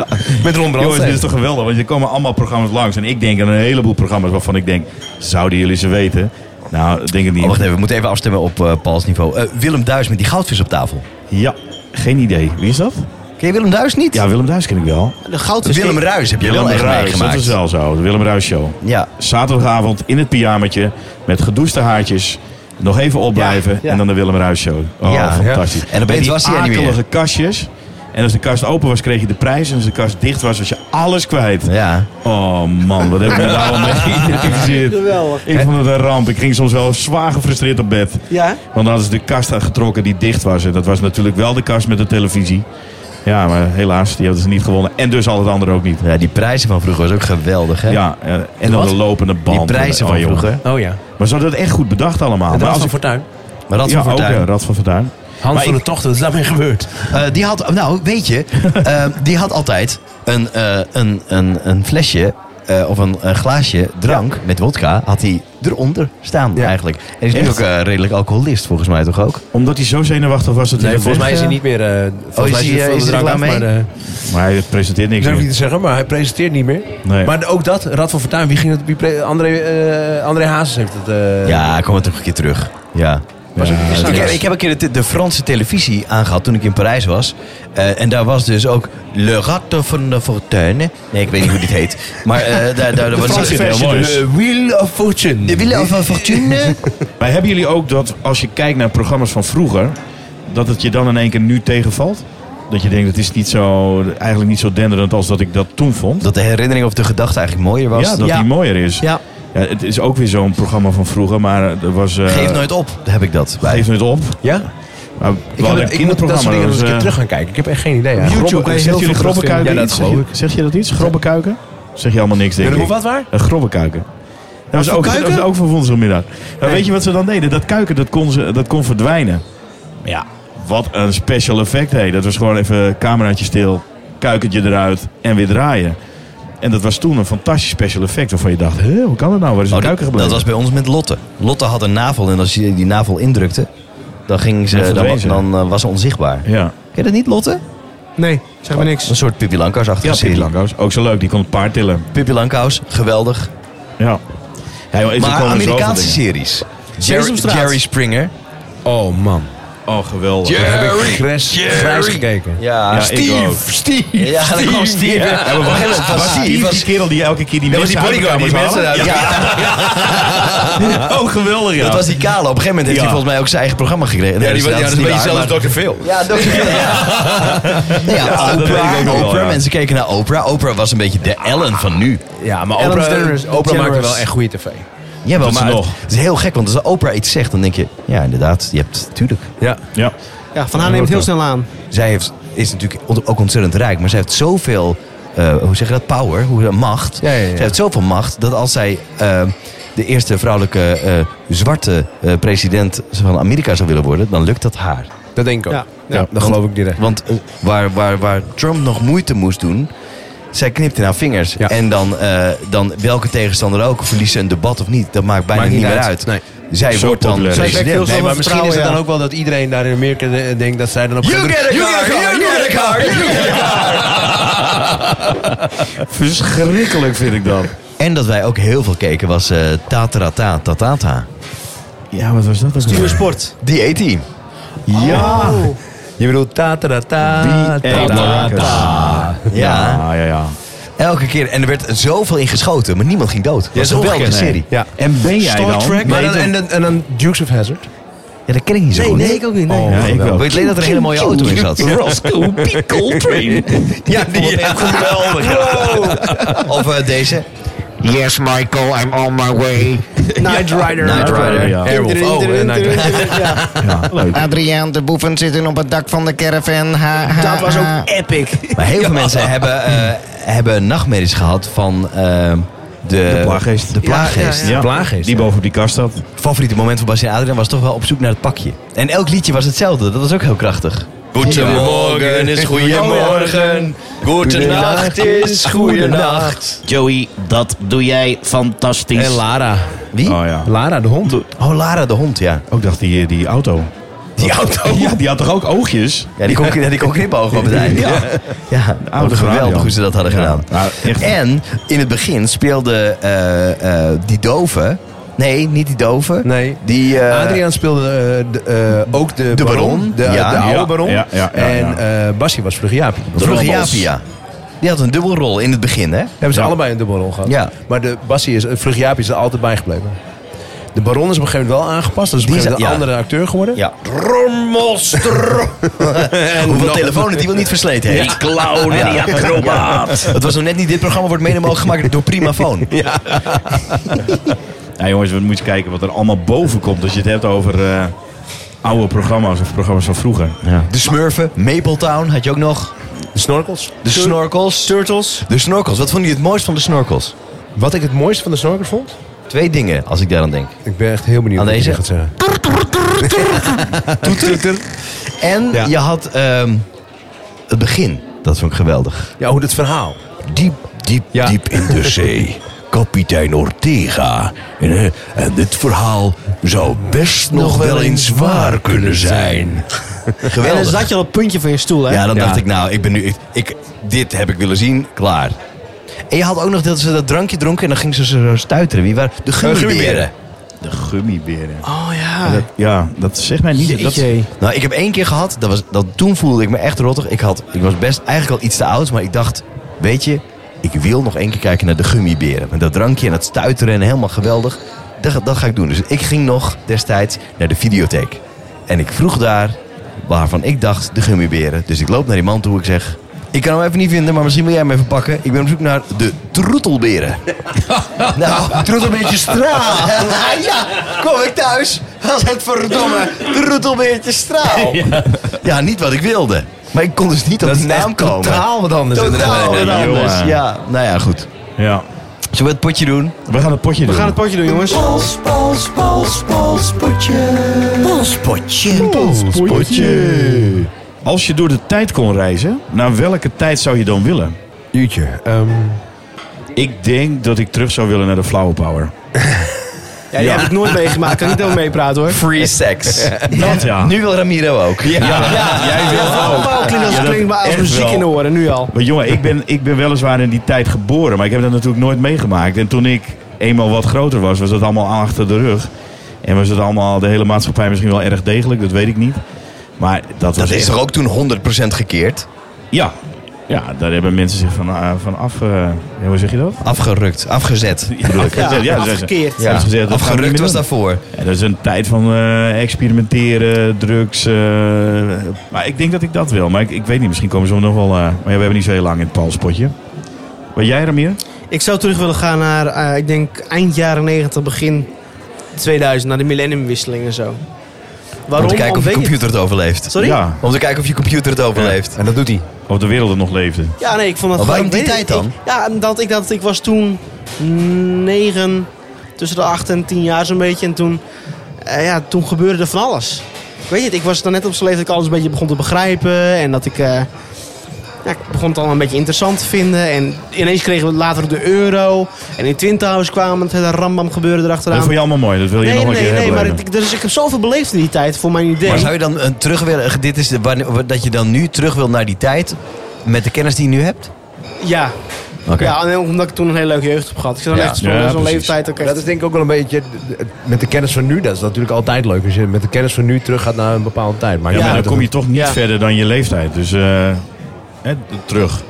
E: met
D: <laughs>
E: Ron
D: Jongens, dit is
E: Brandstede.
D: toch geweldig? Want er komen allemaal programma's langs. En ik denk aan een heleboel programma's waarvan ik denk... Zouden jullie ze weten? Nou, dat denk ik niet.
B: Oh, wacht even, we moeten even afstemmen op eh, Pauls niveau. Eh, Willem Duis met die goudvis op tafel.
D: Ja, geen idee. Wie is dat?
B: Ken je Willem Duis niet?
D: Ja, Willem Duis ken ik wel.
C: De goudvis.
B: Willem Ruis heb je wel echt meegemaakt.
D: dat is wel zo. De Willem Ruis Show.
B: Ja.
D: Zaterdagavond in het pyjamaatje met gedoeste haartjes. Nog even opblijven
C: Ja, ja.
D: en dan de Willem Ruis Show. Oh,
B: Ja,
D: fantastisch.
B: ja. En opeens
D: Met die
B: was hij er niet meer.
D: akelige kastjes. En als de kast open was, kreeg je de prijs. En als de kast dicht was, was je alles kwijt.
B: Ja.
D: Oh man, wat heb ik me daar
B: <laughs>
D: allemaal mee geïdentificeerd.
C: Geweldig.
D: Ik vond het een ramp. Ik ging soms wel zwaar gefrustreerd op bed.
C: Ja?
D: Want dan hadden ze de kast getrokken die dicht was. En dat was natuurlijk wel de kast met de televisie. Ja, maar helaas, die hadden ze niet gewonnen. En dus al het andere ook niet.
B: ja, die prijzen van vroeger was ook geweldig, hè?
D: Ja, eh, en dan
B: Wat?
D: de lopende band.
B: Die prijzen
D: Oh,
B: van
D: joh.
B: vroeger.
E: Oh ja.
D: Maar ze hadden het echt goed bedacht allemaal. Maar als ik-
E: Fortuin.
B: Maar dat
D: ja,
B: van
D: ook,
B: Fortuyn.
D: ja, Rad van Fortuyn.
E: Hans
D: Maar
E: van
D: ik-
E: de Tocht, wat is daarmee gebeurd?
B: Eh, die had, nou weet
D: <laughs>
B: je, eh, die had altijd een, eh, een, een, een flesje eh, of een, een glaasje drank met wodka, had hij eronder staan
E: Ja.
B: eigenlijk. En is nu
D: Echt?
B: ook eh, redelijk alcoholist volgens mij toch ook?
D: Omdat hij zo zenuwachtig was dat hij
E: Nee,
D: dat
E: volgens mij is
D: weg-
E: hij niet meer... eh
B: is
E: volgens mij is
B: hij,
E: hij
B: eh,
E: van
B: is
E: de
B: hij er
E: drank
B: klaar
E: af,
B: mee?
E: maar... eh,
D: Maar hij presenteert
E: Ik
D: niks
E: durf
D: meer.
E: niet te zeggen, maar hij presenteert niet meer.
D: Nee.
E: Maar ook dat, Rad van Fortuin, wie ging het? Wie pre- André, eh, André Hazes heeft het. eh,
B: ja, kom maar toch een keer terug. Ja. Eh,
E: bizar.
B: ik, heb- ik heb een keer de, de Franse televisie aangehad toen ik in Parijs was. Eh, en daar was dus ook Le Ratte van de Fortune. Nee, ik weet niet hoe dit heet. Maar eh, daar,
D: <laughs>
B: daar, daar was
D: Franse
B: heel
D: versie
B: mooi.
D: dus.
E: The Wheel of Fortune.
B: De Wille van Fortune.
D: Maar hebben jullie ook dat als je kijkt naar programma's van vroeger, dat het je dan in één keer nu tegenvalt? Dat je denkt, het is niet zo, eigenlijk niet zo denderend als dat ik dat toen vond.
B: Dat de herinnering of de gedachte eigenlijk mooier was.
D: ja, dat die mooier is.
B: Ja.
D: Ja, het is ook weer zo'n programma van vroeger, maar eh, er was... eh,
B: Geef nooit op, Oh, heb ik dat bij.
D: Geef nooit op.
E: Ja?
D: Maar we
E: Ik,
D: hadden
E: heb,
D: een
E: ik moet dat
D: kinderprogramma.
E: soort dingen nog eens
D: dat
E: een
D: was,
E: keer terug gaan kijken. Ik heb echt geen idee.
D: eh,
E: eigenlijk.
D: grobbe-
E: Robben-
D: Zegt jullie
E: heel veel
D: grobbekuiken?
E: Ja, dat
D: iets? Zeg
E: geloof
D: je-
E: ik.
D: Zeg je dat iets? Grobbekuiken? Zeg je allemaal niks, denk ik.
E: Hoe wat waar?
D: Een grobbekuiken. Dat was,
E: voor
D: ook, dat
E: kuiken?
D: was ook van woensdagmiddag. Maar weet je wat ze dan deden? Dat kuiken, dat kon, ze, dat kon verdwijnen. Maar ja, wat een special effect, hé. Dat was gewoon even cameraatje stil, kuikentje eruit en weer draaien. En dat was toen een fantastisch special effect waarvan je dacht, "Hè, hoe kan dat nou? Waar is een
B: Oh, dat,
D: kuiken gebleven?
B: dat was bij ons met Lotte. Lotte had een navel en als je die navel indrukte, dan, ging
D: Dan
B: ze, dan,
D: verdween
B: wa-
D: ze.
B: dan eh, was ze onzichtbaar.
D: Ja,
B: Ken je dat niet, Lotte?
C: Nee, zeg maar niks.
B: Een soort Pippi Lankhuis-achtige
D: ja Pippi
B: serie.
D: Langhuis. Ook zo leuk, die kon het paard tillen.
B: Pippi Lankhuis, geweldig.
D: Ja. Hey, joh, is- er
B: maar
D: komen zoveel
B: Amerikaanse
D: dingen.
B: series. Jerry,
C: Sesamstraat.
B: Jerry Springer.
E: Oh man.
D: Oh, geweldig.
E: Wat heb ik grijs, grijs gekeken.
B: Ja,
D: Ja,
B: Steve.
D: ik ook.
E: Steve.
B: Ja, dat was Steve. Ja,
D: Ja, maar wacht,
B: dat
D: was
B: was
D: die,
B: Steve.
D: die kerel die elke keer die
E: Dat was
D: mensen
E: die bodyguard,
D: uit
E: die
D: elkaar moest
E: mensen
D: halen?
E: uit-
B: Ja,
D: Ja. Oh, geweldig, ja.
B: dat was die kale. Op een gegeven moment heeft
D: Ja.
B: hij volgens mij ook zijn eigen programma gekregen. Nee, dat is niet waar, maar-
E: Dr. Phil.
B: Ja, dat ja.
D: <laughs> Ja, dat weet ik
B: Oprah.
D: ook wel,
B: Oprah.
D: ja.
B: Mensen keken naar Oprah. Oprah was een beetje de Ellen van nu.
E: Ja, maar
C: Ellen
E: Oprah,
C: DeGeneres-
E: Oprah maakte
C: DeGeneres.
E: wel echt goede tv.
B: Jawel,
D: Dat is
B: maar het,
D: nog.
B: het is heel gek, want als Oprah iets zegt, dan denk je... Ja, inderdaad, je hebt tuurlijk.
E: Ja.
D: Ja.
C: Ja, van haar neemt het heel snel aan.
B: Zij heeft, is natuurlijk on- ook ontzettend rijk, maar zij heeft zoveel... eh, hoe zeg je dat? Power, hoe, macht.
E: Ja, ja, ja.
B: Zij heeft zoveel macht dat als zij eh, de eerste vrouwelijke eh, zwarte eh, president van Amerika zou willen worden... dan lukt dat haar.
E: Dat denk ik ook.
C: Ja.
E: Ja,
C: Ja.
E: dat geloof ik direct.
B: Want eh, waar, waar, waar Trump nog moeite moest doen. Zij knipte naar vingers.
E: Ja.
B: En dan, eh, dan welke tegenstander ook, verliest ze een debat of niet, dat maakt bijna
E: Maakt
B: niet meer uit.
E: Nee.
B: Zij
D: Zo
B: wordt dan
D: populair is
C: het.
B: president.
C: Zij
E: Nee,
C: Zoveel
E: maar misschien is het
C: vertrouwen,
E: dan
C: ja.
E: ook wel dat iedereen daar in Amerika de- denkt dat zij dan op een gegeven moment-
D: Verschrikkelijk vind ik dat.
B: En dat wij ook heel veel keken was eh Tatarata Tatata.
D: Ja, wat was dat?
C: Stuur sport.
B: Die E-team.
D: Ja.
E: Je bedoelt ta ta ta
D: Ah,
E: ta ta ta ta.
B: Ja.
D: Ja, ja, ja.
B: Elke keer. En er werd zoveel in geschoten, maar niemand ging dood. Dat was een geweldige
E: ongekend,
B: serie.
E: Ja.
D: En ben jij dan?
E: Maar dan, en, dan, en dan Dukes of Hazard.
B: Ja, dat ken ik niet zo goed.
C: ook niet. Nee. <laughs>
D: Ja, ik wel.
B: Weet je alleen dat er een hele mooie auto in
D: <laughs>
B: zat?
D: Roscoe Pickle Train.
B: Ja, die echt geweldig. Of eh, deze.
G: Yes, Michael, I'm on my way.
C: Night Rider.
B: Knight Rider.
D: Ja.
E: Airwolf. Oh, eh, Knight Rider.
C: Ja,
D: <laughs> Ja, leuk.
G: Adriaan, de boeven zitten op het dak van de caravan. Ha, ha,
C: Dat
G: <laughs>
C: was
G: ha.
C: ook epic.
B: Maar heel veel mensen hebben, eh, hebben nachtmerries gehad van eh, de, de
D: plaaggeest.
B: De plaaggeest.
D: Eh, Ja,
E: Plaaggeest,
D: Die
E: ja.
D: boven op die kast zat.
B: Favoriete moment van Bastien Adriaan was toch wel op zoek naar het pakje. En elk liedje was hetzelfde. Dat was ook heel krachtig.
E: Goedemorgen
B: is
E: goeiemorgen.
B: Goedenacht is goedenacht.
H: Joey, dat doe jij fantastisch.
E: En Lara.
B: Wie?
D: Oh ja.
E: Lara, de hond.
B: Oh, Lara de hond, ja.
D: Ook dacht die, die auto.
B: Die auto.
D: Ja, die had toch ook oogjes?
B: Ja, die kon, ja, die kon knipogen op het einde. Ja, ja.
D: Oude
B: Wat geweldig
D: radio.
B: hoe ze dat hadden
D: Ja.
B: gedaan.
D: Ja, echt.
B: En in het begin speelde eh, eh, die dove... Nee, niet die dove.
E: Nee.
B: Die, eh,
E: Adriaan speelde eh, de, eh, ook de,
B: De baron.
E: De,
B: Ja.
E: de oude
D: Ja,
E: baron.
D: ja, ja, ja,
E: en
D: ja.
E: eh, Bassie was vroeger Jaapie.
B: Vroeger
E: Rommels.
B: Japia. Die had een dubbelrol in het begin, hè?
E: Hebben ze
D: Ja.
E: allebei een dubbelrol gehad.
B: Ja.
E: Maar de Bassie is, eh, vroeger Jaapie is er altijd bijgebleven. De Baron is op een gegeven moment wel aangepast. Dat is op een
B: Die is-
E: gegeven moment een
B: ja.
E: andere acteur geworden.
B: Ja. <laughs>
E: Rommelster.
B: En Hoeveel telefoon die wel niet versleten heeft. Die clown en die acrobaat. Het was nog net niet dit programma wordt mede mogelijk gemaakt door Primafoon.
D: Ja, jongens, we moeten kijken wat er allemaal boven komt als je het hebt over eh, oude programma's of programma's van vroeger.
B: De Smurfen, Mapletown had je ook nog.
E: De snorkels.
B: De snorkels.
C: Turtles.
B: De snorkels. Wat vond je het mooist van de snorkels?
E: Wat ik het mooiste van de snorkels vond?
B: Twee dingen, als ik daar aan denk.
E: Ik ben echt heel benieuwd
B: Aan
E: wat je
B: deze?
E: dit gaat zeggen.
B: En
E: Ja.
B: je had ehm, het begin. Dat vond ik geweldig.
E: Ja, hoe het verhaal.
B: Diep, diep,
E: Ja.
B: diep in de zee. Kapitein Ortega. En, eh, en dit verhaal zou best nog wel eens waar kunnen zijn. <laughs>
C: En dan
B: Geweldig.
C: zat je al op het puntje van je stoel, hè?
B: Ja, dan
E: Ja.
B: dacht ik, nou, ik ben nu. Ik, ik- dit heb ik willen zien, klaar. En je had ook nog dat ze dat drankje dronken en dan ging ze zo stuiteren. Wie waren de gummiberen?
E: gummiberen.
D: De gummiberen.
C: Oh ja.
D: Dat, ja, dat zegt mij niet. Dat,
C: Jeetje.
B: Nou, ik heb één keer gehad, dat was, dat, toen voelde ik me echt rottig. Ik, had, ik was best eigenlijk al iets te oud, maar ik dacht, weet je, ik wil nog één keer kijken naar de gummiberen. Met dat drankje en dat stuiteren en helemaal geweldig. Dat, ga- dat ga ik doen. Dus ik ging nog destijds naar de videotheek. En ik vroeg daar waarvan ik dacht de gummiberen. Dus ik loop naar die man toe, ik zeg... Ik kan hem even niet vinden, maar misschien wil jij hem even pakken. Ik ben op zoek naar de troetelberen. nou, troetelbeertje straal. ja, kom ik thuis. Dat is het verdomme troetelbeertje straal. Ja. niet wat ik wilde. Maar ik kon dus niet op
E: Dat
B: die
E: is
B: naam
E: echt
B: komen.
E: totaal wat anders.
B: Totaal
E: inderdaad.
B: wat
D: nee,
B: anders.
D: jongen.
B: Ja, nou ja, goed.
D: ja.
B: Zullen we het potje doen?
D: We gaan het potje
C: We
D: doen.
C: gaan het potje doen, jongens.
B: Polspotje.
D: potje. Als je door de tijd kon reizen, naar welke tijd zou je dan willen?
E: Uurtje. ehm,
D: Ik denk dat ik terug zou willen naar de Flower Power.
C: Ja, die heb ik nooit meegemaakt. Kan niet over meepraten, hoor.
B: Free sex.
D: Dat
B: <laughs>
D: ja.
B: Nu wil Ramiro ook.
D: Ja, jij wil ook.
C: Oh, klinkt als,
D: Ja, dat
C: klinkt maar als
D: echt
C: muziek
D: wel.
C: in de oren, nu al.
D: Maar jongen, ik ben, ik ben weliswaar in die tijd geboren, maar ik heb dat natuurlijk nooit meegemaakt. En toen ik eenmaal wat groter was, was dat allemaal achter de rug. En was het allemaal, de hele maatschappij misschien wel erg degelijk, dat weet ik niet. Maar dat was
B: Dat is
D: echt-
B: toch ook toen 100% gekeerd?
D: Ja. Ja, daar hebben mensen zich van, eh, van af... eh, ja, hoe zeg je dat?
B: Afgerukt, afgezet.
D: Afgezet,
C: Ja,
D: dat is-
C: afgekeerd.
D: dat is gezegd, dat gaan we niet
B: Afgerukt
D: meer
B: was
D: doen.
B: daarvoor.
D: Ja, dat is een tijd van eh, experimenteren, drugs. eh, maar ik denk dat ik dat wil. Maar ik, ik weet niet, misschien komen ze nog wel... eh, maar ja, we hebben niet zo heel lang in het palspotje. Wat jij, Ramir?
C: Ik zou terug willen gaan naar, eh, ik denk, eind jaren 90, begin 2000. Naar de millenniumwisseling en zo.
B: Om
C: Waarom?
B: te kijken of je
C: Omdat
B: computer het overleeft.
C: Sorry? Ja.
D: Ja,
B: Om te kijken of je computer het overleeft.
E: en dat doet hij.
D: of de wereld er nog leefde.
C: nee, ik vond dat
B: Maar waarom
C: gewoon-
B: die
C: weet
B: tijd
C: ik- ik- ja, omdat ik, dat, ik was toen 9, tussen de 8 en 10 jaar zo'n beetje. En toen, eh, ja, toen gebeurde er van alles. Ik weet het, ik was dan net op zo'n leeftijd dat ik alles een beetje begon te begrijpen. En dat ik... eh, Ja, ik begon het allemaal een beetje interessant te vinden. En ineens kregen we later de euro. En in Twin Towers kwamen het hele rambam gebeuren erachteraan.
D: Dat vond je allemaal mooi. Dat wil je
C: Nou, Nee,
D: nog een
C: nee,
D: keer
C: nee,
D: hebben.
C: maar ik, dus ik heb zoveel beleefd in die tijd, voor mijn idee.
B: Maar zou je dan eh, terug willen... Dit is de, wanneer- dat je dan nu terug wil naar die tijd... met de kennis die je nu hebt?
C: Ja.
B: Oké.
C: Ja, en ook omdat ik toen een hele leuke jeugd heb gehad. Ik zat dan
B: Ja.
C: echt zo'n
D: Ja,
C: zo'n
D: precies.
C: leeftijd ook echt...
E: Dat is denk ik ook wel een beetje, met de kennis van nu, dat is natuurlijk altijd leuk. Als je met de kennis van nu terug gaat naar een bepaalde tijd. Maar
D: Ja, maar
E: dat
D: dan kom je toch niet
C: Ja.
D: verder dan je leeftijd. Dus eh, hè, d- terug.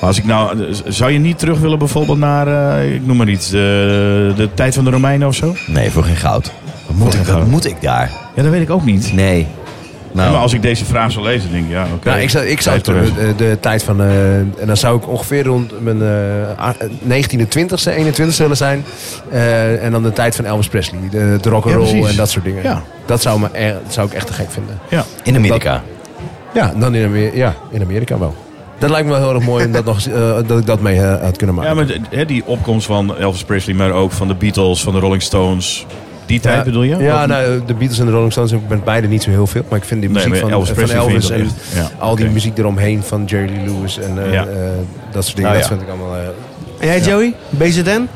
D: Maar als ik nou, zou je niet terug willen bijvoorbeeld naar, eh, ik noem maar iets, de, de tijd van de Romeinen of zo?
B: Nee, voor geen goud. Wat moet, ik, wat moet ik daar?
D: Ja, dat weet ik ook niet.
B: Nee. Nou,
D: Maar als ik deze vraag zou lezen, denk ik, ja, oké.
E: Nou, ik zou, ik zou
D: Tijd
E: terug,
D: terug.
E: eh, de, tijd van, eh, en dan zou ik ongeveer rond mijn eh, a- 19e, 20e, 21e willen zijn. Eh, en dan de tijd van Elvis Presley, de, de rock'n'roll
D: Ja, precies.
E: en dat soort dingen.
D: Ja.
E: Dat zou, me, e- dat zou ik echt te gek vinden.
D: Ja.
B: in Amerika.
E: Ja, dan in, Amer- ja, in Amerika wel. Dat lijkt me wel heel erg mooi om dat, <laughs> nog, eens, eh, dat ik dat mee eh, had kunnen maken.
D: ja, maar de- hè, die opkomst van Elvis Presley, maar ook van de Beatles, van de Rolling Stones. Die tijd
E: Ja,
D: bedoel je?
E: Ja,
D: Wat-
E: nou, de Beatles en de Rolling Stones, ik ben beide niet zo heel veel. Maar ik vind die
D: Nee,
E: muziek
D: maar
E: van
D: Elvis
E: van
D: Presley vind
E: Elvis
D: je
E: en
D: wel echt. Ja,
E: al die
D: oké.
E: muziek eromheen van Jerry Lee Lewis en eh,
D: Ja.
E: eh, dat soort dingen.
D: Nou
E: dat
D: ja.
E: vind ik allemaal... eh,
C: En jij, Joey? BZN?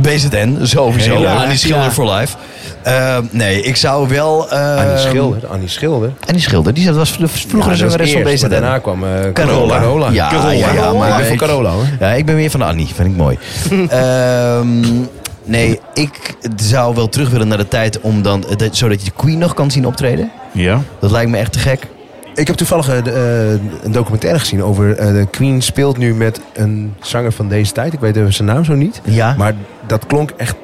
B: BZN, sowieso.
D: Heel erg,
B: Annie Schilder
C: ja.
B: for life. Eh, nee, ik zou wel... eh,
E: Annie Schilder, Annie Schilder.
B: Annie Schilder, die was de vroegere
E: Ja, dat
B: zangeres
E: is
B: van
E: eerst,
B: BZN.
E: maar daarna kwam eh,
B: Carola.
E: Carola.
B: Ja,
E: Carola.
B: ja, ja, maar
E: ik ben voor
B: ik-
E: Carola hoor.
B: Ja, ik ben meer van de Annie. Vind ik mooi. Ehm, nee, ik zou wel terug willen naar de tijd om dan... eh, dat- zodat je de Queen nog kan zien optreden.
D: ja.
B: Dat lijkt me echt te gek.
E: Ik heb toevallig eh, de, eh, een documentaire gezien over eh, de Queen speelt nu met een zanger van deze tijd. Ik weet even zijn naam zo niet.
B: Ja.
E: Maar dat klonk echt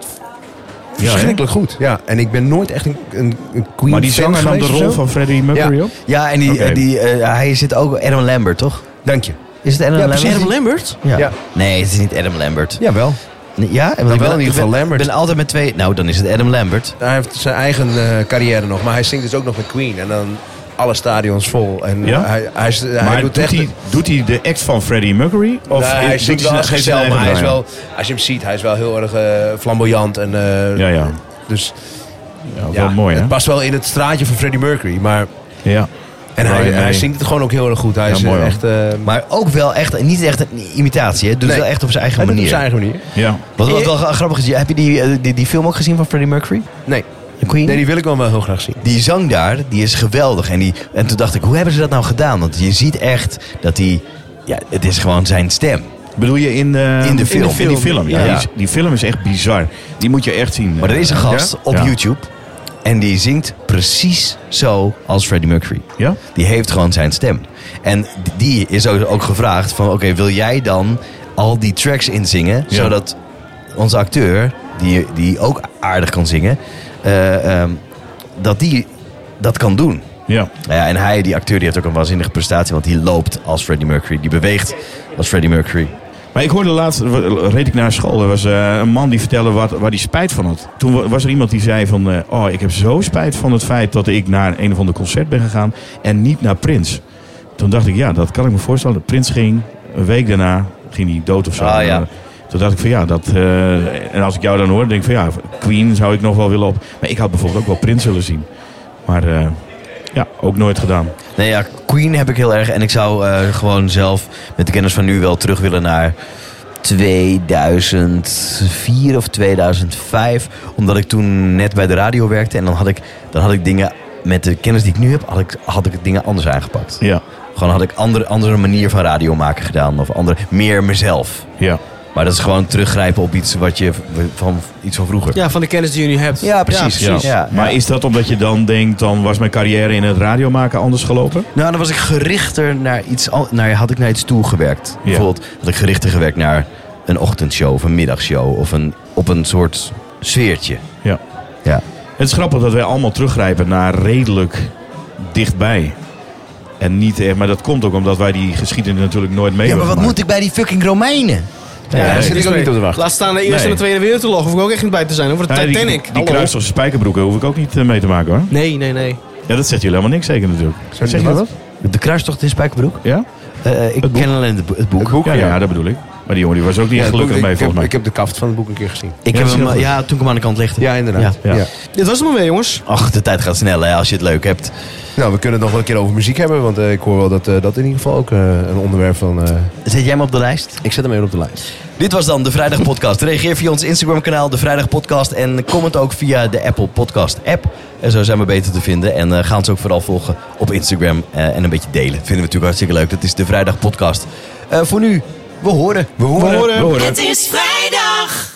D: hè?
E: Verschrikkelijk goed. Ja, en ik ben nooit echt een, een, een Queen
D: Maar die
E: fan
D: zanger nam de
E: geweest of
D: rol
E: zo.
D: van Freddie Mercury
E: Ja.
D: op?
B: Ja, en die,
D: Oké.
B: eh, die, eh, hij zit ook... Adam Lambert, toch?
E: Dank je.
B: Is het Adam
E: Ja,
B: Lambert?
E: precies.
C: Adam Lambert?
B: Ja.
E: Ja.
B: Nee, het is niet Adam Lambert.
E: Jawel.
B: Nee, Ja? Want ik ben-
E: wel in ieder geval
B: ik ben-
E: Lambert.
B: Ik ben altijd met twee... Nou, dan is het Adam Lambert.
E: Hij heeft zijn eigen eh, carrière nog, maar hij zingt dus ook nog met Queen. En dan alle stadions vol. En eh,
D: Ja?
E: hij, hij, is- hij
D: Maar
E: doet
D: doet,
E: echt...
D: hij, doet hij de act van Freddie Mercury? Of
E: Nee, hij
D: doet
E: zingt
D: zijn-
E: wel
D: geeft zijn
E: zichzelf,
D: eigen
E: maar hij is
D: draai aan?
E: wel, als je hem ziet, hij is wel heel erg eh, flamboyant. En, eh,
D: Ja, ja.
E: Dus
D: Ja,
E: ja,
D: wel mooi, hè?
E: het past wel in het straatje van Freddie Mercury. Maar,
D: Ja.
E: en hij,
D: Nee, nee.
E: hij zingt het gewoon ook heel erg goed. Hij
D: Ja,
E: is
D: mooi,
E: eh,
D: hoor.
E: echt... eh,
B: Maar ook wel echt... Niet echt een imitatie, hè? Doet
E: Nee.
B: het wel echt op zijn eigen
E: hij doet het
B: manier.
E: op zijn eigen Eh, manier.
D: ja.
B: Wat, wat wel grappig is, heb je die, eh, die, die film ook gezien van Freddie Mercury?
E: Nee.
B: De Queen?
E: nee, die wil ik wel wel heel graag zien.
B: die zang daar, die is geweldig. En, die, en toen dacht ik, hoe hebben ze dat nou gedaan? Want je ziet echt dat hij... Ja, het is gewoon zijn stem.
D: Bedoel je in de,
B: In de film.
D: In die film, ja.
B: Ja.
D: Die, is- die film is echt bizar. Die moet je echt zien. eh,
B: Maar er is een gast
D: Ja?
B: op
D: Ja.
B: YouTube... en die zingt precies zo als Freddie Mercury.
D: Ja?
B: Die heeft gewoon zijn stem. En die is ook ook gevraagd van... oké, wil jij dan al die tracks inzingen...
D: Ja.
B: zodat onze acteur, die, die ook aardig kan zingen... eh, ehm, dat die dat kan doen.
D: Ja.
B: Nou ja, en hij, die acteur, die heeft ook een waanzinnige prestatie. Want die loopt als Freddie Mercury. Die beweegt als Freddie Mercury.
D: Maar ik hoorde laatst, w- reed ik naar school, er was eh, een man die vertelde wat, waar hij spijt van had. Toen wa- was er iemand die zei van, eh, oh ik heb zo spijt van het feit dat ik naar een of ander concert ben gegaan en niet naar Prins. Toen dacht ik, ja dat kan ik me voorstellen. Prins ging, een week daarna ging hij dood of zo. eh,
B: Ah, ja.
D: Toen dacht ik van ja, dat, eh, en als ik jou dan hoor, denk ik van ja, Queen zou ik nog wel willen op. Maar ik had bijvoorbeeld ook wel Prins willen zien. Maar eh, ja, ook nooit gedaan.
B: Nee ja, Queen heb ik heel erg. En ik zou eh, gewoon zelf met de kennis van nu wel terug willen naar 2004 of 2005. Omdat ik toen net bij de radio werkte. En dan had ik, dan had ik dingen... Met de kennis die ik nu heb, had ik, had ik dingen anders aangepakt.
D: Ja,
B: Gewoon had ik andere, andere manier van radio maken gedaan. Of andere, meer mezelf.
D: ja.
B: Maar dat is gewoon teruggrijpen op iets, wat je, van, iets van vroeger.
C: Ja, van de kennis die je nu hebt.
B: Ja, precies.
D: Ja.
B: Ja,
D: maar
B: ja.
D: is dat omdat je dan denkt, dan was mijn carrière in het radiomaken anders gelopen?
B: Nou, dan was ik gerichter naar iets al, naar, had ik naar iets toe gewerkt. Bijvoorbeeld had ik gerichter gewerkt naar een ochtendshow of een middagshow of een, op een soort sfeertje.
D: Ja.
B: Ja.
D: Het is grappig dat wij allemaal teruggrijpen naar redelijk dichtbij. En niet echt, maar dat komt ook omdat wij die geschiedenis natuurlijk nooit mee hebben gemaakt.
B: ik bij die fucking Romeinen?
C: Ja,
D: daar
C: dat
D: zit
C: is
E: ik ook
C: mee.
E: niet op te wachten.
C: Laat staan de Eerste
D: Nee.
C: en de Tweede Wereldoorlog. Hoef ik ook echt niet bij te zijn. Over de
D: Nee, die,
C: Titanic.
D: die
C: Hallo.
D: kruisers spijkerbroeken hoef ik ook niet eh, mee te maken hoor.
C: Nee, nee, nee.
D: Ja, dat zegt jullie helemaal niks zeker natuurlijk. Zeg je
E: wat?
D: dat?
B: De kruistocht in Spijkerbroek?
D: Ja?
B: Eh, ik
D: Het boek.
B: ken alleen het, bo- het boek.
D: ja, ja, dat bedoel ik. Maar die jongen die was ook niet echt
E: het boek-
D: gelukkig
E: ik,
D: mee
E: ik heb,
D: volgens mij.
E: ik heb de kaft van het boek een keer gezien.
B: Ik
D: Ja,
B: heb
D: dat is
B: hem,
D: heel
B: ja, toen ik hem aan de kant legde.
E: Ja, inderdaad.
D: Ja.
E: Ja.
C: Dit was hem alweer, jongens.
B: Ach, de tijd gaat snel hè, als je het leuk hebt.
E: Nou, we kunnen het nog wel een keer over muziek hebben. Want eh, ik hoor wel dat eh, dat in ieder geval ook eh, een onderwerp van... eh,
B: Zet jij hem op de lijst?
E: ik zet hem even op de lijst.
B: Dit was dan de Vrijdag Podcast. Reageer via ons Instagram kanaal, de Vrijdag Podcast. En comment ook via de Apple Podcast app. En zo zijn we beter te vinden. En eh, ga ons ook vooral volgen op Instagram. eh, en een beetje delen. Vinden we natuurlijk hartstikke leuk. Dat is de Vrijdag Podcast. Eh, voor nu, we horen.
E: We horen.
A: Het is vrijdag.